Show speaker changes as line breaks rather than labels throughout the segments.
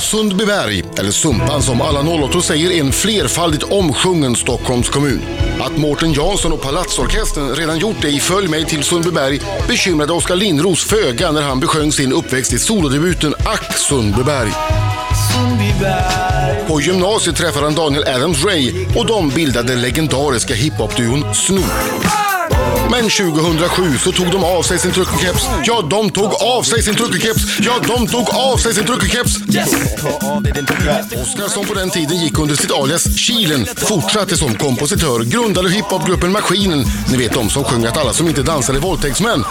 Sundbyberg, eller Sumpan som alla 08 säger, är en flerfaldigt omsjungen Stockholmskommun. Att Mårten Jansson och Palatsorkestern redan gjort det i Följ mig till Sundbyberg bekymrade Oskar Lindros föga när han besjöng sin uppväxt i solodebuten Ack Sundbyberg. På gymnasiet träffade han Daniel Adams Ray och de bildade den legendariska hiphopduon Snoop. Men 2007 så tog de av sig sin truckerkeps. Ja, de tog av sig sin truckerkeps. Ja, de tog av sig sin truckerkeps. Oskar som på den tiden gick under sitt alias Kilen fortsatte som kompositör, grundade hiphopgruppen Maskinen, ni vet de som sjöng att alla som inte dansade är våldtäktsmän.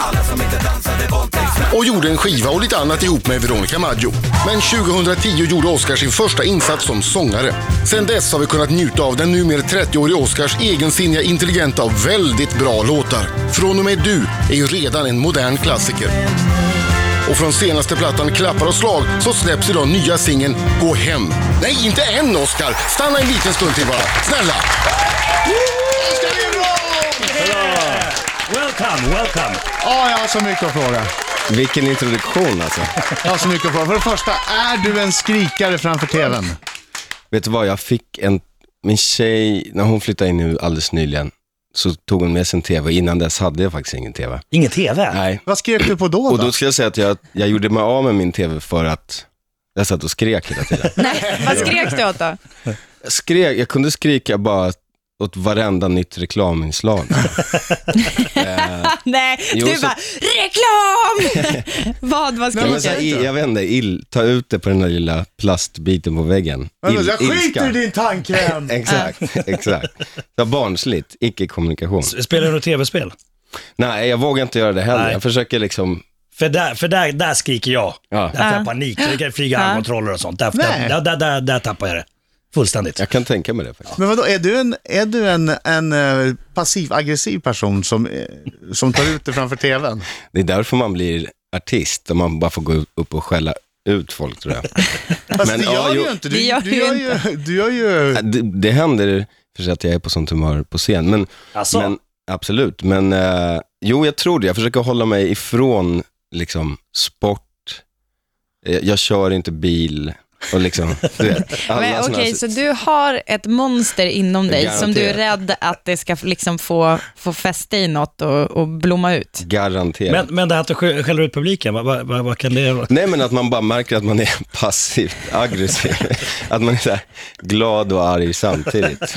Och gjorde en skiva och lite annat ihop med Veronica Maggio. Men 2010 gjorde Oskar sin första insats som sångare. Sen dess har vi kunnat njuta av den numera 30-årige Oskars egensinniga, intelligenta och väldigt bra låtar. Från och med Du är ju redan en modern klassiker. Och från senaste plattan Klappar och slag så släpps idag nya singeln Gå hem. Nej, inte än Oscar! Stanna en liten stund till bara. Snälla!
Welcome, welcome!
Ja, jag har så mycket att fråga.
Vilken introduktion alltså.
Jag har så mycket att fråga. För det första, är du en skrikare framför TVn?
Vet du vad, jag fick en, min tjej, när hon flyttade in nu alldeles nyligen, så tog hon med sig en TV. Innan dess hade jag faktiskt ingen TV.
Ingen TV?
Nej.
Vad skrek du på då?
Och
då?
då ska jag säga att jag, jag gjorde mig av med min TV för att jag satt och skrek hela tiden.
Nej, vad skrek du åt då?
Jag, skrek, jag kunde skrika bara åt varenda nytt reklaminslag.
Nej,
Jo,
du
så-
bara reklam! vad var
Jag, men så här,
skriket?
i- jag vet inte, ill, ta ut det på den där lilla plastbiten på väggen.
Vänta,
Ill-
jag skiter
ilska.
i din tandkräm!
Exakt, exakt. Så barnsligt, icke-kommunikation.
Spelar du något TV-spel?
Nej, jag vågar inte göra det heller.
Nej.
Jag försöker liksom,
För där, för där, där skriker jag.
ja,
Där får jag panik. Det kan flyga armkontroller och sånt. Där,
Nej.
där, där, där, där, tappar jag det. Fullständigt.
jag kan tänka mig det faktiskt.
Men vadå, är du en, är du en, en eh, passiv-aggressiv person som, eh, som tar ut det framför TVn?
Det är därför man blir artist, och man bara får gå upp och skälla ut folk tror jag.
Fast
Men,
det gör
ja,
du
jo.
ju inte.
Det
Du,
gör
du,
du
gör ju, du gör ju...
Det, det händer för sig att jag är på sånt humör på scen, men,
Alltså,
men absolut. Men eh, jo, jag tror det. Jag försöker hålla mig ifrån liksom sport, Eh, jag, jag kör inte bil och liksom, du vet. alla
Men,
såna här-
okej, så du har ett monster inom dig som du är rädd att det ska liksom få, få fäste i något och, och blomma ut?
Garanterat.
men, men det här att du sk- skäller ut publiken, vad, vad, vad, vad kan det vara?
Nej men att man bara märker att man är passivt aggressiv. Att man är så här glad och arg samtidigt.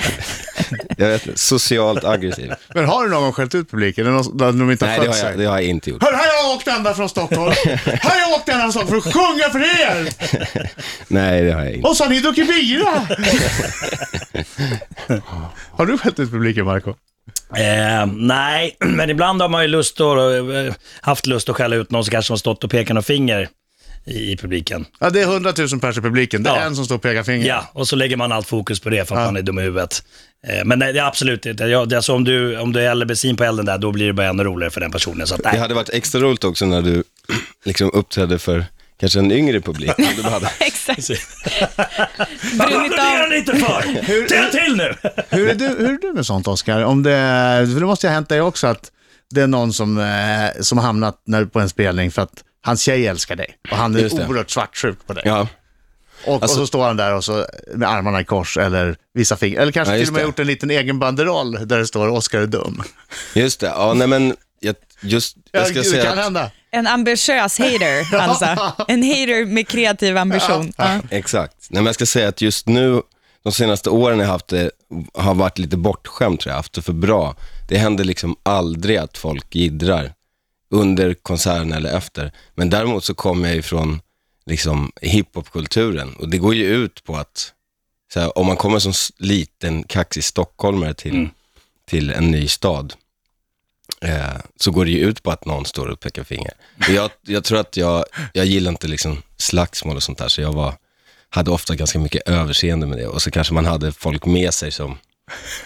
Jag vet inte, socialt aggressiv.
Men har du någon gång skällt ut publiken? Är det någon- Där de inte har
Nej det
skött
har,
sig?
jag, det har jag inte gjort.
Hör, här har jag åkt ända från Stockholm. Här har jag åkt ända från Stockholm för att sjunga för er.
Nej det har jag inte.
Och så har ni druckit bira. har du skällt ut publiken, Marco?
Eh, nej, men ibland har man ju lust att, eh, haft lust att skälla ut någon som kanske har stått och pekat något finger i, i publiken.
Ja, det är 100 000 pers i publiken. Det är
Ja.
en som står och pekar finger.
Ja, och så lägger man allt fokus på det för att man är dum i huvudet. Eh, Men nej, det är absolut inte. Jag, det, alltså om, du, om du häller bensin på elden där, då blir det bara ännu roligare för den personen. Så att,
Det
nej.
hade varit extra roligt också när du liksom uppträdde för kanske en yngre publik. Om du bara hade,
Exakt.
Vad
Brunnit
applåderar
av.
ni inte för? Tänk till nu!
Hur, är du, hur är du med sånt, Oskar? Om det, för det måste ju ha hänt dig också att det är någon som, eh, som har hamnat när, på en spelning för att hans tjej älskar dig och han
Just
är
det.
oerhört svartsjuk på dig.
ja,
Och,
Alltså-
och så står han där och så med armarna i kors eller vissa fingrar. Eller kanske
Ja,
till
just
och med
det.
gjort en liten egen banderoll där det står Oskar är dum.
just det. Ja, nej men, jag, just, jag ska
det
säga
kan
att,
hända.
En ambitiös hater, alltså. En hater med kreativ ambition. Ja.
Exakt. Nej, men jag ska säga att just nu, de senaste åren jag haft det, har varit lite bortskämt tror jag, haft det för bra. Det händer liksom aldrig att folk gidrar under konserten eller efter. Men däremot så kommer jag ifrån liksom hiphopkulturen och det går ju ut på att så här, om man kommer som s- liten kaxig stockholmare till, till en ny stad, eh, så går det ju ut på att någon står och pekar finger. Och jag, jag tror att jag, jag gillar inte liksom slagsmål och sånt där, så jag var, hade ofta ganska mycket överseende med det. Och så kanske man hade folk med sig som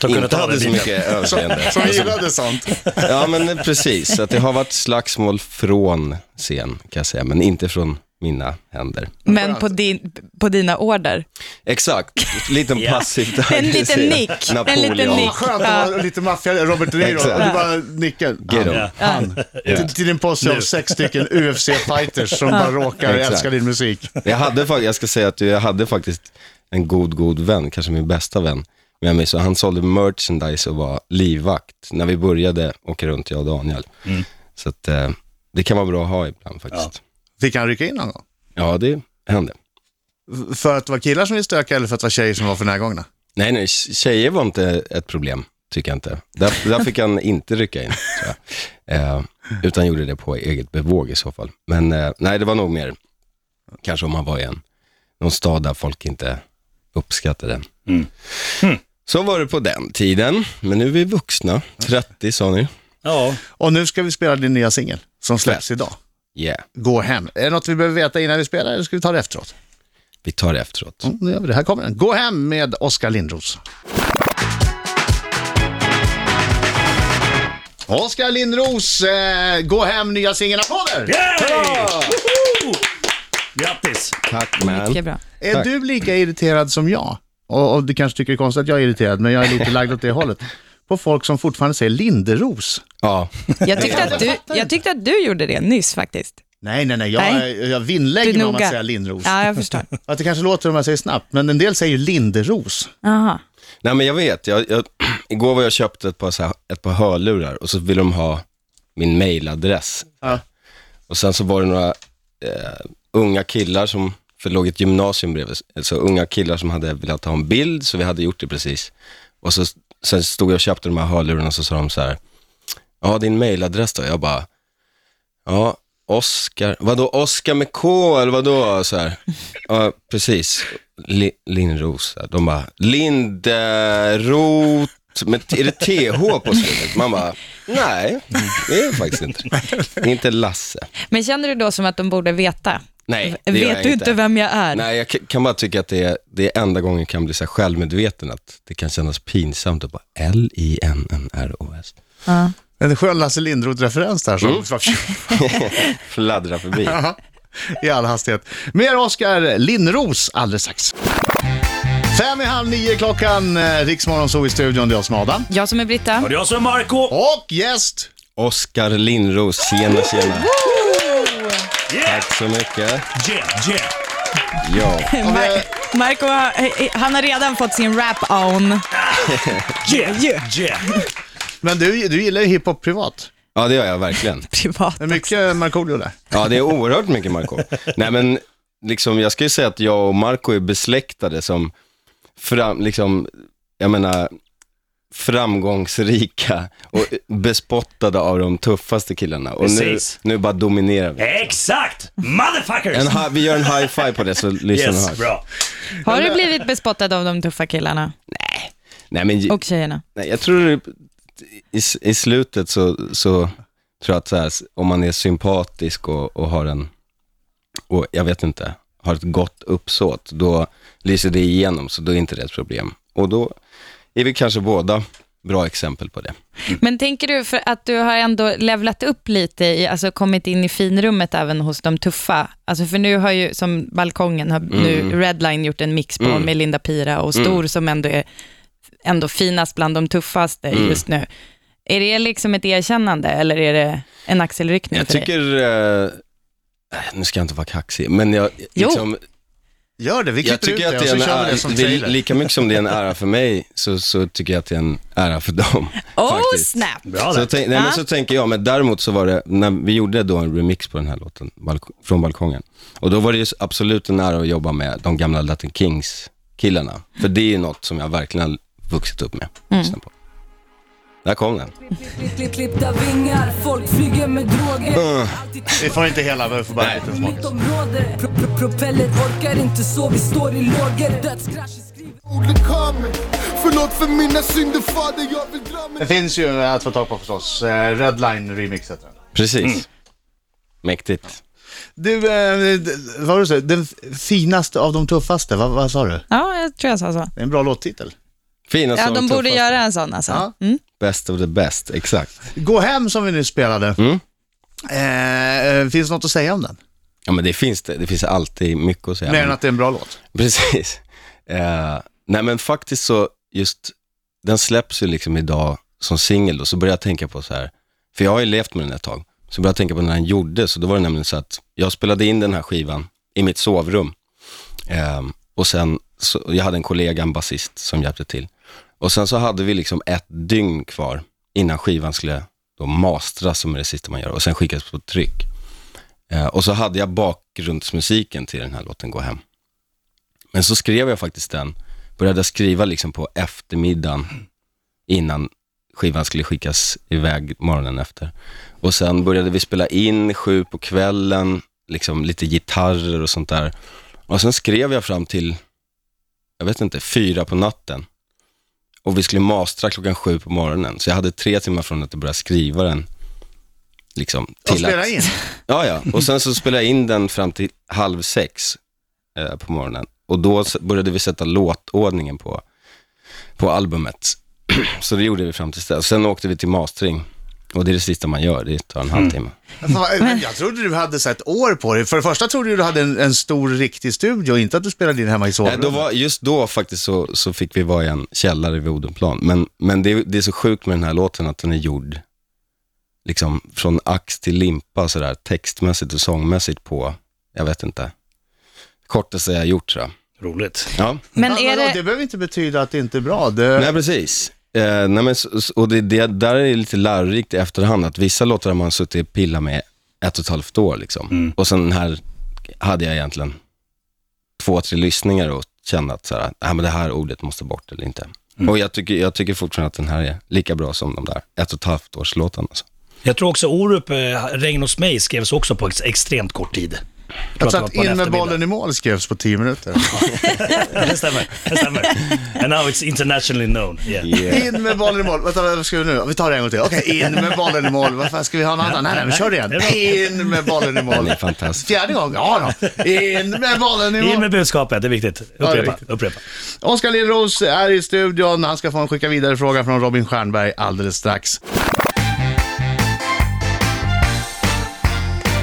Ta kunna
inte
ta
hade
den
så
biten.
mycket överseende.
Som gillade sånt.
Ja, men precis. Så att det har varit slagsmål från scen, kan jag säga, men inte från mina händer.
Men på, din, på dina order.
Exakt, liten
Ja.
passivt
En liten
aggressiv
nick. En
Napoleon.
liten nick.
Skönt att vara lite maffia, Robert De Niro.
Exakt.
Du bara nickar.
Get him.
Han. han. Till, till din posse av sex stycken UFC-fighters som bara råkar
Exakt.
älska din musik.
Jag, hade, fak- jag ska säga att jag hade faktiskt en god, god vän, kanske min bästa vän med mig, så han sålde merchandise och var livvakt när vi började åka runt, jag och Daniel. Så att, eh, det kan vara bra att ha ibland faktiskt.
Fick han rycka in någon gång?
Ja, det hände.
F- För att det var killar som ville stöka eller för att det var tjejer som var för närgångna?
Nej, nej, tjejer var inte ett problem, tycker jag inte. Där, där fick han inte rycka in, tror jag. Eh, utan gjorde det på eget bevåg i så fall. Men eh, nej, det var nog mer, kanske om han var i en, någon stad där folk inte uppskattade den. Så var det på den tiden, men nu är vi vuxna. 30 sa ni.
Ja,
Och nu ska vi spela din nya singel som släpps idag.
Yeah,
Gå hem. Är det något vi behöver veta innan vi spelar eller ska vi ta det efteråt?
vi tar det efteråt.
Mm, nu gör vi det. Här kommer den. Gå hem med Oskar Lindros. Oskar Lindros, eh, Gå hem, nya singeln. Applåder!
Yay! Woho! Grattis!
Tack man.
Mycket bra.
Är
Tack.
du lika irriterad som jag? Och, och du kanske tycker det är konstigt att jag är irriterad, men jag är lite lagd åt det hållet. På folk som fortfarande säger Linderos.
Ja,
Jag tyckte, att du, jag tyckte att du gjorde det nyss faktiskt.
Nej, nej, nej. Jag,
Nej.
jag
Du
vinnlägger
är
mig om att
noga.
säga Lindros.
Ja, jag förstår.
Att det kanske låter om jag säger snabbt, men en del säger Linderos.
Aha.
nej men jag vet. Jag, jag, igår var jag och köpte ett par, så här, ett par hörlurar och så ville de ha min mailadress.
Ja.
Och sen så var det några eh, unga killar som, för det låg ett gymnasium bredvid, så unga killar som hade velat ha en bild, så vi hade gjort det precis. Och så, sen stod jag och köpte de här hörlurarna och så sa de så här, ja din mailadress då? Jag bara, ja, Oscar, vadå Oscar med K eller vadå? Så här. Ja, precis. Li, Lindros, de bara, Linderot, men är det TH på slutet? Man bara, nej, det är det faktiskt inte. Det är inte Lasse.
Men känner du då som att de borde veta?
Nej, det gör
Vet
jag
du inte vem jag är?
Nej, jag k- kan bara tycka att det är, det är enda gången jag kan bli så här självmedveten, att det kan kännas pinsamt att bara L-I-N-N-R-O-S.
Ja.
En skön Lasse Lindroth-referens där som
Fladdra förbi.
i all hastighet. Mer Oskar Lindros alldeles strax. Fem i halv nio klockan, eh, Riksmorgon så i studion, det är jag som är Adam.
Jag som är Britta.
Och det är jag som är Marco
Och gäst!
Oskar Lindros, tjena tjena.
Yeah,
Tack så mycket.
yeah, yeah.
Ja,
Mar- Marco, har- han har redan fått sin rap on.
Yeah, yeah, yeah.
Men du, du gillar ju hiphop privat.
ja det gör jag verkligen.
Privat.
Det är mycket Markoolio där.
Ja, det är oerhört mycket Marco. Nej, men liksom, jag ska ju säga att jag och Marco är besläktade som, fram, liksom, jag menar, framgångsrika och bespottade av de tuffaste killarna. Och nu,
Precis.
nu bara dominerar vi.
Exakt! Motherfuckers!
En hi- vi gör en high five på det så lyssnarna
Yes,
hörs.
bra.
Har du blivit bespottad av de tuffa killarna
Nej, men
och tjejerna?
nej, jag tror det- i, i slutet så, så tror jag att så här, om man är sympatisk och, och har en, och jag vet inte, har ett gott uppsåt, då lyser det igenom, så då är inte det ett problem. Och då är vi kanske båda bra exempel på det.
Men tänker du för att du har ändå levlat upp lite, i, alltså kommit in i finrummet även hos de tuffa? Alltså för nu har ju, som Balkongen, har
Mm.
nu Redline gjort en mix på med Linda Pira och Stor som ändå är ändå finast bland de tuffaste
Mm.
just nu. Är det liksom ett erkännande eller är det en axelryckning
Jag
för dig?
tycker, eh, nu ska jag inte vara kaxig, men jag,
Jo.
liksom,
Gör det, vi
jag
klipper ut
tycker
det
att
och
det är
så
en
kör vi
ära,
det som
det är
trailer.
lika mycket som det är en ära för mig, så, så tycker jag att det är en ära för dem.
Oh
faktiskt.
snap!
Bra
Så,
där.
tänk, nej,
Ja.
men så tänker jag, men däremot så var det, när vi gjorde då en remix på den här låten, balk från balkongen. Och då var det ju absolut en ära att jobba med de gamla Latin Kings-killarna. För det är ju något som jag verkligen har vuxit upp med.
Mm.
lyssnat På. Där kom den.
Klipp, klippta vingar, folk flyger med droger. Alltid
Vi får inte hela, men vi får bara en
Nej.
liten smak.
mittområde. Pro- pro- Propeller orkar inte så vi står i lågor. Dödskrasch i skrivet.
Förlåt för mina synder fader, jag vill dra mig
Det finns ju att få tag på förstås, eh, Redline Remix heter den.
Precis. Mäktigt.
Du, eh, d- vad var det du sa? Den f- finaste av de tuffaste, vad, vad sa du? Det
Ja, jag tror jag sa så.
är en bra låttitel.
Finast
Ja,
av
de borde
tuffaste.
göra en sån alltså.
Ja.
Mm.
Best of the best, exakt.
Gå hem som vi nu spelade.
Mm.
Eh, Eh, finns det något att säga om den?
Ja, men det finns det. Det finns alltid mycket att säga.
Mer
Men-
än att det är en bra låt.
Precis. Eh, nej men faktiskt så, just, den släpps ju liksom idag som singel då, så började jag tänka på så här, för jag har ju levt med den ett tag, så började jag tänka på när den gjordes, så då var det nämligen så att jag spelade in den här skivan i mitt sovrum. Eh, och sen, så, jag hade en kollega, en basist, som hjälpte till. Och sen så hade vi liksom ett dygn kvar innan skivan skulle då mastras, som är det sista man gör, och sen skickas på tryck. Eh, och så hade jag bakgrundsmusiken till den här låten Gå Hem. Men så skrev jag faktiskt den, började skriva liksom på eftermiddagen innan skivan skulle skickas iväg morgonen efter. Och sen började vi spela in sju på kvällen, liksom lite gitarrer och sånt där. Och sen skrev jag fram till, jag vet inte, fyra på natten. Och vi skulle mastra klockan sju på morgonen. Så jag hade tre timmar från att jag började skriva den. Liksom,
Och
till
spela
att,
in.
Ja, ja. Och sen så spelade jag in den fram till halv sex eh, på morgonen. Och då s- började vi sätta låtordningen på, på albumet. så det gjorde vi fram till dess. Sen åkte vi till mastering. Och det är det sista man gör, det tar en halvtimme.
Fan, Jag trodde du hade så här ett år på dig. För det första trodde jag du hade en, en stor riktig studio, inte att du spelade in hemma i
Nej,
sovrummet.
då var, just då faktiskt så, så fick vi vara i en källare vid Odenplan. Men, men det, är- det är så sjukt med den här låten att den är gjord liksom från ax till limpa sådär textmässigt och sångmässigt på, jag vet inte, kortaste jag har gjort tror jag.
Roligt.
Ja.
Men
Ja,
är
vadå?
det...
det behöver inte betyda att det inte är bra. Det...
Nej, precis. Eh, nej, men, så- så- och det, det där är lite lärorikt i efterhand, att vissa låtar har man suttit och pillat med ett och ett halvt år. Liksom. Och sen den här hade jag egentligen två, tre lyssningar och kände att så här, "Nej, men det här ordet måste bort eller inte. Och jag tycker, jag tycker fortfarande att den här är lika bra som de där ett och ett halvt års låtarna. Alltså.
Jag tror också Orup, eh, Regn hos mig, skrevs också på ex extremt kort tid.
Jag
Alltså
tror
tror
att det var på
att
en
in med
eftermiddag.
bollen i mål skrevs på tio minuter.
Det stämmer, det stämmer. And now it's internationally known. Yeah.
In med bollen i mål. Vänta, vad ska vi nu? Vi tar det en gång till. Okej, in med bollen i mål. Vad fan, ska vi ha något annat? Nej, nej, men kör igen. In med bollen i
Den
mål.
är fantastisk.
Fjärde gången? Ja då. In med bollen i
In med
mål.
budskapet, det är viktigt. Upprepa,
det är viktigt.
upprepa.
Oskar Lindros är i studion. Han ska få en skicka vidare fråga från Robin Stjernberg alldeles strax.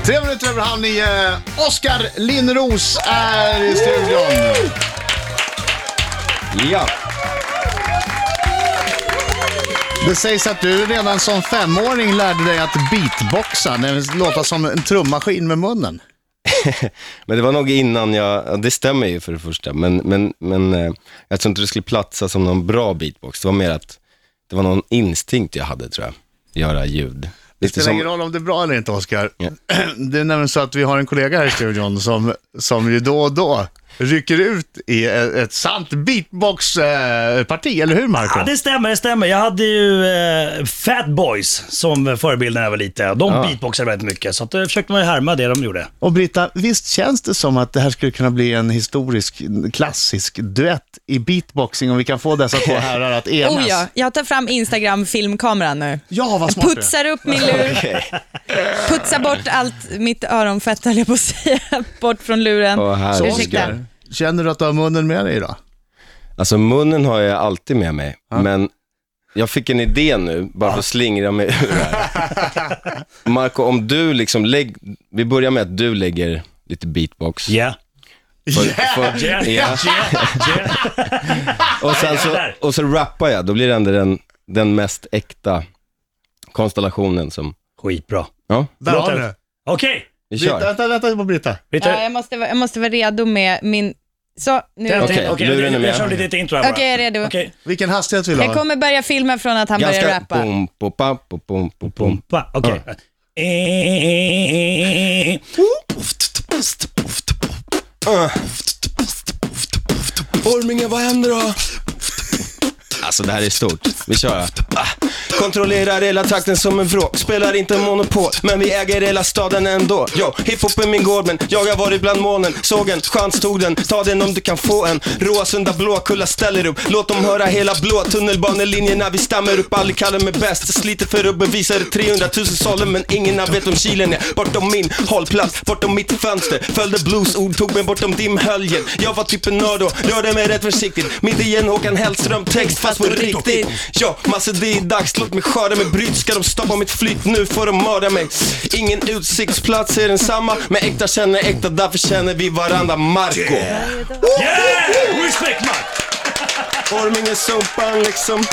Tre minuter över halv nio. Oskar Lindros är i studion.
Ja,
Det sägs att du redan som femåring lärde dig att beatboxa, när det låta som en trummaskin med munnen.
men det var nog innan jag, ja, det stämmer ju för det första, men, men, men eh, jag tror inte det skulle platsa som någon bra beatbox. Det var mer att det var någon instinkt jag hade tror jag, göra ljud.
Det spelar ingen roll om det är bra eller inte, Oskar. Det är nämligen så att vi har en kollega här i studion som, som ju då och då rycker ut i ett, ett sant beatbox-parti, eller hur Marco?
Ja, det stämmer, det stämmer. Jag hade ju eh, Fat Boys som förebild när jag var liten. De beatboxade väldigt mycket, så att, eh, försökte man ju härma det de gjorde.
Och Britta, visst känns det som att det här skulle kunna bli en historisk, klassisk duett i beatboxing om vi kan få dessa två herrar att enas?
Oh ja, jag tar fram Instagram-filmkameran nu.
ja, vad
Jag
smart du är.
putsar upp min lur, putsar bort allt mitt öronfett höll jag på att säga, bort från luren.
Åh,
Så
herregud.
Ursäkta.
Oskar, känner du att du har munnen med dig idag?
Alltså munnen har jag alltid med mig, men jag fick en idé nu, bara för att slingra mig ur det här. Marco, om du liksom, lägg, vi börjar med att du lägger lite beatbox.
Yeah.
För, för,
Yeah.
ja. Och, sen så, och så rappar jag, då blir det ändå den, den mest äkta konstellationen som,
Skitbra.
ja,
Där
Låter-
har du det.
Okej,
vi
Britta,
kör.
vänta, vänta på Britta.
vi tar...
Ja, jag, måste, vara- jag måste vara redo med min... Så, nu.
Okej,
Okej,
Okej,
okej,
luren är
jag-
med.
jag kör lite intro här bara.
jag är redo.
Okej.
Vilken hastighet vill du
Jag
ha?
kommer börja filma från att han börjar
Ganska...
rappa.
Bom, bo, pa, bo, bom, bo, bom.
Pumpa, okej. Eh,
Orminge, Äh. vad händer då? Alltså det här är stort. Vi kör. Ah. Kontrollerar hela trakten som en vrå. Spelar inte monopol, men vi äger hela staden ändå. Jo, hiphop är min gård, men jag har varit bland månen. Såg en, chans tog den. Ta den om du kan få en. Råsunda Blåkulla ställer upp. Låt dem höra hela blå tunnelbanelinjerna. Vi stämmer upp, aldrig kallar mig bäst. Sliter för att bevisa det. 300 000 sålde, men ingen vet om Kilen är. Bortom min hållplats, bortom mitt fönster. Följde bluesord, tog mig bortom dimhöljen. Jag var typ en nörd och rörde mig rätt försiktigt. Mitt i en Håkan Hellström-text, fast på riktigt. Ja, massor det är dags. gjort mig skör, de är brytska, de stoppar mitt flyt, nu får de mörda mig. Ingen utsiktsplats är densamma, men äkta känner äkta, därför känner vi varandra. Marco.
Yeah! Respect Mark!
Ormingen sumpan liksom.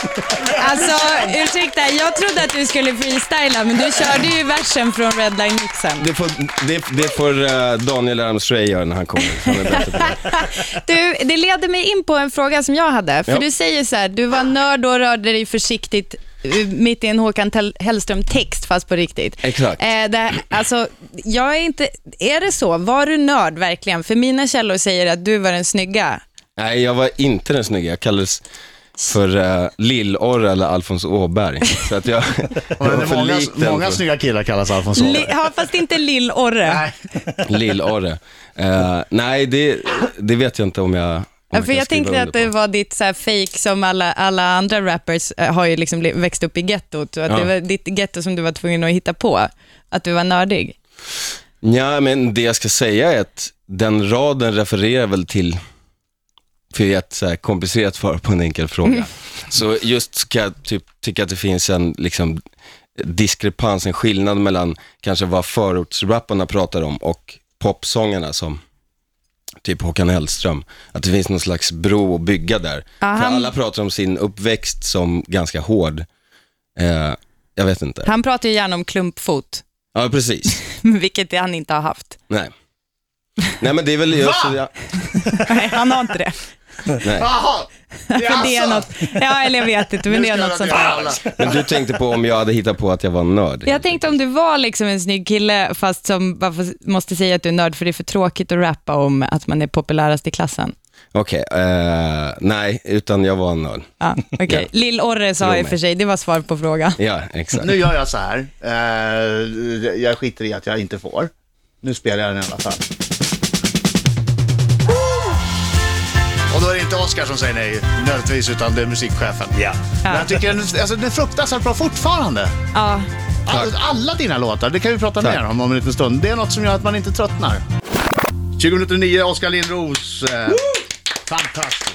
Alltså, ursäkta, jag trodde att du skulle freestyla, men du körde ju versen från Redline-mixen.
Det får, det, det får eh, Daniel Armstrong göra när han kommer. Han är bättre på det.
Du, det leder mig in på en fråga som jag hade. För
Ja.
Du säger så här, du var nörd och rörde dig försiktigt eh, mitt i en Håkan Tell- Hellström-text, fast på riktigt.
Exakt.
Eh, det, alltså, jag är inte... Är det så? Var du nörd verkligen? För mina källor säger att du var den snygga.
Nej, jag var inte den snygga. Jag kallades för uh, Lill-Orre eller Alfons Åberg. Så att jag, jag
Men
var
det är
för alltså.
många,
lik den.
många snygga killar kallas Alfons
Li,
Åberg.
ja, fast inte Lill-Orre.
Nej.
Lill-Orre. Eh, nej, det, det vet jag inte om jag, om
Ja, för
kan
jag
skriva
tänkte
under
att det
på.
var ditt så här fake som alla, alla andra rappers eh, har ju liksom bli- växt upp i gettot. Och att
Ja.
Det var ditt getto som du var tvungen att hitta på, att du var nördig.
Ja, men det jag ska säga är att den raden refererar väl till, för jag är ett så här komplicerat svar på en enkel
Mm.
fråga. Så just ska jag typ, tycka att det finns en liksom, diskrepans, en skillnad mellan kanske vad förortsrapparna pratar om och popsångarna som typ Håkan Hellström. Att det finns någon slags bro att bygga där. För
Ah, han-
alla pratar om sin uppväxt som ganska hård. Eh, jag vet inte.
Han pratar ju gärna om klumpfot,
Ja, precis.
vilket han inte har haft.
Nej. Nej men det är väl just det.
Nej, han har inte det.
Nej.
Jaha!
För det är något, ja, eller jag vet inte, men det är något sånt. där.
Men du tänkte på om jag hade hittat på att jag var nörd.
Jag tänkte om du var liksom en snygg kille, fast som bara får- måste säga att du är nörd, för det är för tråkigt att rappa om att man är populärast i klassen.
Okej, eh, nej, utan jag var en nörd.
Ja, okay. Lill-Orre sa
Tro
i och
mig.
för sig, det var svar på frågan.
Ja, exakt.
Nu gör jag så här. Eh, jag skiter i att jag inte får. Nu spelar jag den i alla fall. Och då är det inte Oscar som säger nej, nödvändigtvis, utan det är musikchefen.
Ja.
Men jag tycker den, alltså, den är fruktansvärt bra fortfarande.
Ja.
All, alla dina låtar, det kan vi prata
Tack.
mer om om en liten stund. Det är något som gör att man inte tröttnar. 2009, Oskar Lindros. Eh, fantastiskt.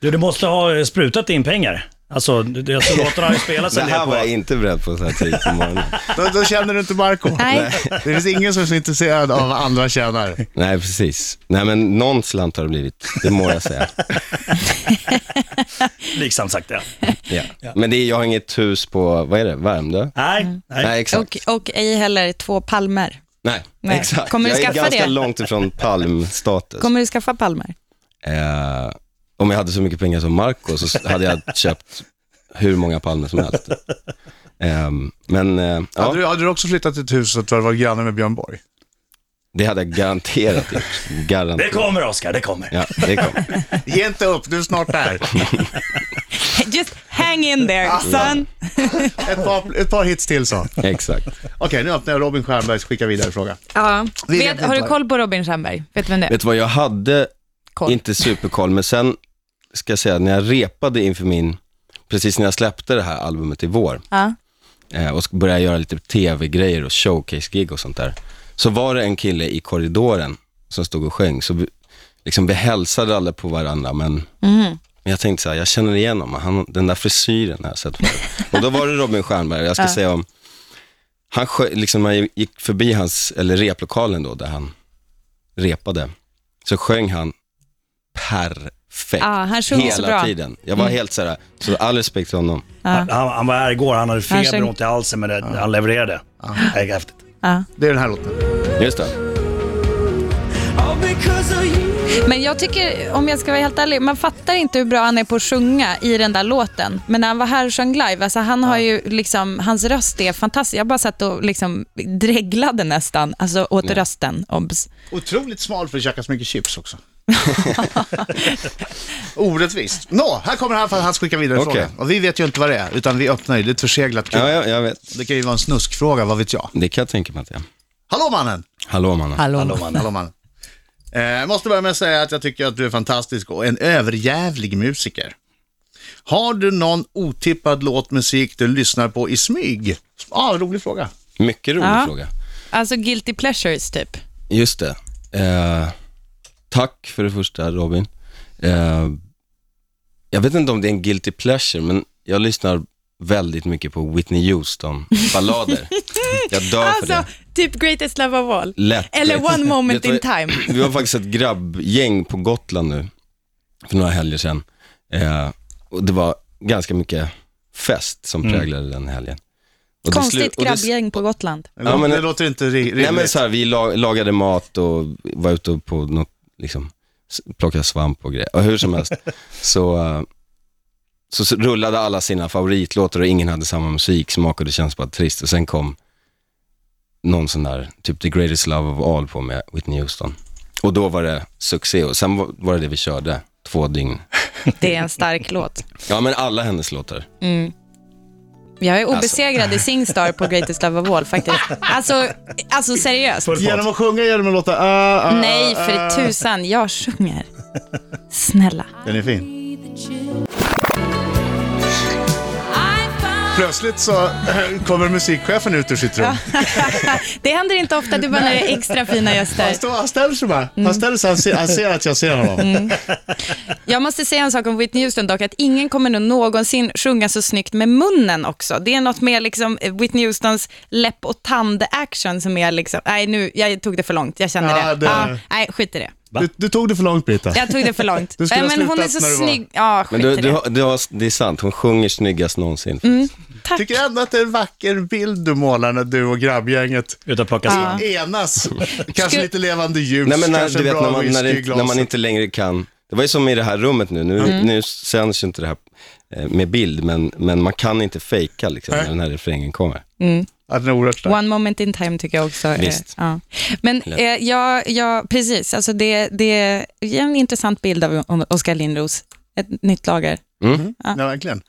Du, du måste ha eh, sprutat in pengar. Alltså, du- du- alltså låtarna har ju spelats
Det
en del
här
på...
var jag inte beredd på så här tidigt på morgonen.
Då, då känner du inte Marco.
Nej.
Det finns ingen som är så intresserad av vad andra tjänar.
Nej, precis. Nej, men någon slant har det blivit. Det må jag säga.
Blygsamt Liksom sagt, ja.
Ja. Men det är, jag har inget hus på, vad är det, Värmdö?
Nej, nej.
Nej, exakt.
Och, och ej heller två palmer.
Nej,
Nej.
exakt.
Kommer du
jag är
skaffa
ganska
det?
långt ifrån palmstatus.
Kommer du skaffa palmer?
Eh, om jag hade så mycket pengar som Marco så s- hade jag köpt hur många palmer som helst. Ehm, men eh, ja,
Hade, du, hade du också flyttat till ett hus så att du hade varit granne med Björn Borg?
det hade jag garanterat gjort.
Det
Garanterat.
kommer, Oscar, det kommer.
Ja, det kom.
Ge inte upp, du är snart där.
Just hang in there, son.
Ett par, ett par hits till så. Okej,
Exakt.
nu öppnar jag Robin Stjernbergs skicka vidare fråga.
Ja.
Vi
Vet,
vet
har du
inte.
koll på Robin Stjernberg? Vet du vem det är?
Vet du vad, jag hade
Koll.
inte superkoll, men sen ska jag säga, när jag repade inför min, precis när jag släppte det här albumet i vår,
Ja.
eh, och började göra lite tv-grejer och showcase-gig och sånt där, så var det en kille i korridoren som stod och sjöng, så vi, liksom, vi hälsade alla på varandra, men
Mm.
Men jag tänkte så här, jag känner igen honom, han, den där frisyren har jag sett förut. Och då var det Robin Stjernberg, jag ska säga om, han sjö, liksom, när jag gick förbi hans, eller replokalen då, där han repade, så sjöng han perfekt
Ja, han sjunger
hela
så bra. Mm.
tiden. Jag var helt så här, så all respekt till honom.
Han, han- han var här igår, han hade
Han
feber
sjöng-
och ont i halsen, men det, han levererade. Det är häftigt.
Det är den här låten.
Just det.
Men jag tycker, om jag ska vara helt ärlig, man fattar inte hur bra han är på att sjunga i den där låten. Men när han var här och sjöng live, alltså han har ju liksom, hans röst är fantastisk. Jag bara satt och liksom dreglade nästan, alltså åt rösten. Obs.
Otroligt smal för att käka så mycket chips också. Orättvist. Nå, här kommer han för att han skickar vidare
Okej.
fråga. Och vi vet ju inte vad det är, utan vi öppnar ju. Det är ett förseglat kul.
Ja, ja, jag vet.
Det kan ju vara en snuskfråga, vad vet jag.
Det kan jag tänka mig att jag.
Hallå mannen!
Hallå mannen.
Hallå, man.
Hallå mannen. Eh, jag måste börja med att säga att jag tycker att du är fantastisk och en överjävlig musiker. Har du någon otippad låt musik du lyssnar på i smyg? Ah, rolig fråga.
Mycket rolig
Ja.
fråga.
Alltså guilty pleasures typ.
Just det. Eh, tack för det första Robin. Eh, jag vet inte om det är en guilty pleasure, men jag lyssnar väldigt mycket på Whitney Houston-ballader. jag dör för
Alltså,
det.
typ Greatest Love of All.
Lätt.
Eller One Moment in
Vet du vad-
Time.
Vi var faktiskt ett grabbgäng på Gotland nu, för några helger sedan. Eh, och det var ganska mycket fest som präglade den helgen. Och det slu-
Konstigt
och det-
grabbgäng på Gotland.
Det,
Ja, men-
det låter inte ri- rimligt.
Nej men så här, vi la- lagade mat och var ute på något, liksom, s- plockade svamp och grejer. Och hur som helst, så, eh, så, s- rullade alla sina favoritlåtar och ingen hade samma musiksmak och det känns bara trist. Och sen kom någon sån där, typ The Greatest Love of All på med Whitney Houston. Och då var det succé och sen var- var det det vi körde, två dygn.
Det är en stark låt.
Ja men alla hennes låtar.
Jag
Alltså.
är obesegrad i Singstar på Greatest Love of All faktiskt. Alltså, alltså seriöst.
Genom att sjunga, genom att låta... ah, ah,
Nej,
ah.
för tusan. Jag sjunger. Snälla.
Den är fin. Plötsligt så eh, kommer musikchefen ut ur sitt rum.
Det händer inte ofta, det är bara när det är extra fina gäster.
Han, står, han ställer sig bara. Han ställer sig, han ser, han ser att jag ser honom.
Mm. Jag måste säga en sak om Whitney Houston dock, att ingen kommer nog någonsin sjunga så snyggt med munnen också. Det är något med liksom eh, Whitney Houstons läpp och tand-action som är liksom, nej nu, jag tog det för långt, jag känner
Ja,
det.
det-
Ja, nej, skit i det.
Du, du tog det för långt Brita.
Jag tog det för långt.
Du skulle
Nej,
ha
men hon är
slutat
så
när du var-
snygg. Ja,
Men
skit
du,
i
du,
det.
har- du har, det är sant, hon sjunger snyggast någonsin. Mm.
Tack.
Tycker ändå att det är en vacker bild du målar när du och grabbgänget
Utan att plocka svamp.
enas. Kanske
Skulle-
lite levande ljus,
Nej men när,
kanske
du vet
bra
när man, när,
whisky i
det, när man
glaset. Mm.
inte längre kan, det var ju som i det här rummet nu, nu, nu sänds ju inte det här eh, med bild, men, men man kan inte fejka liksom, när den här refrängen kommer.
Ja, den är oerhört stark.
One moment in time tycker jag också. är-
Visst.
Ja. Men eh, ja, ja, precis, alltså det, det ger en intressant bild av om Oskar Lindros. Ett nytt lager.
Ja, verkligen.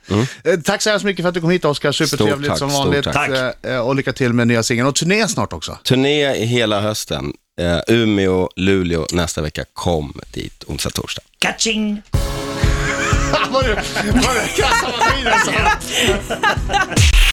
Eh, Tack så hemskt mycket för att du kom hit Oskar. Supertrevligt
tack,
som
Mm. stort
vanligt.
tack.
Eh, eh, Och lycka till med nya singeln och turné snart också.
Turné hela hösten, eh, Umeå, Luleå, nästa vecka, kom dit onsdag, torsdag.
Catching!
Var det, var det kassamaskinen som...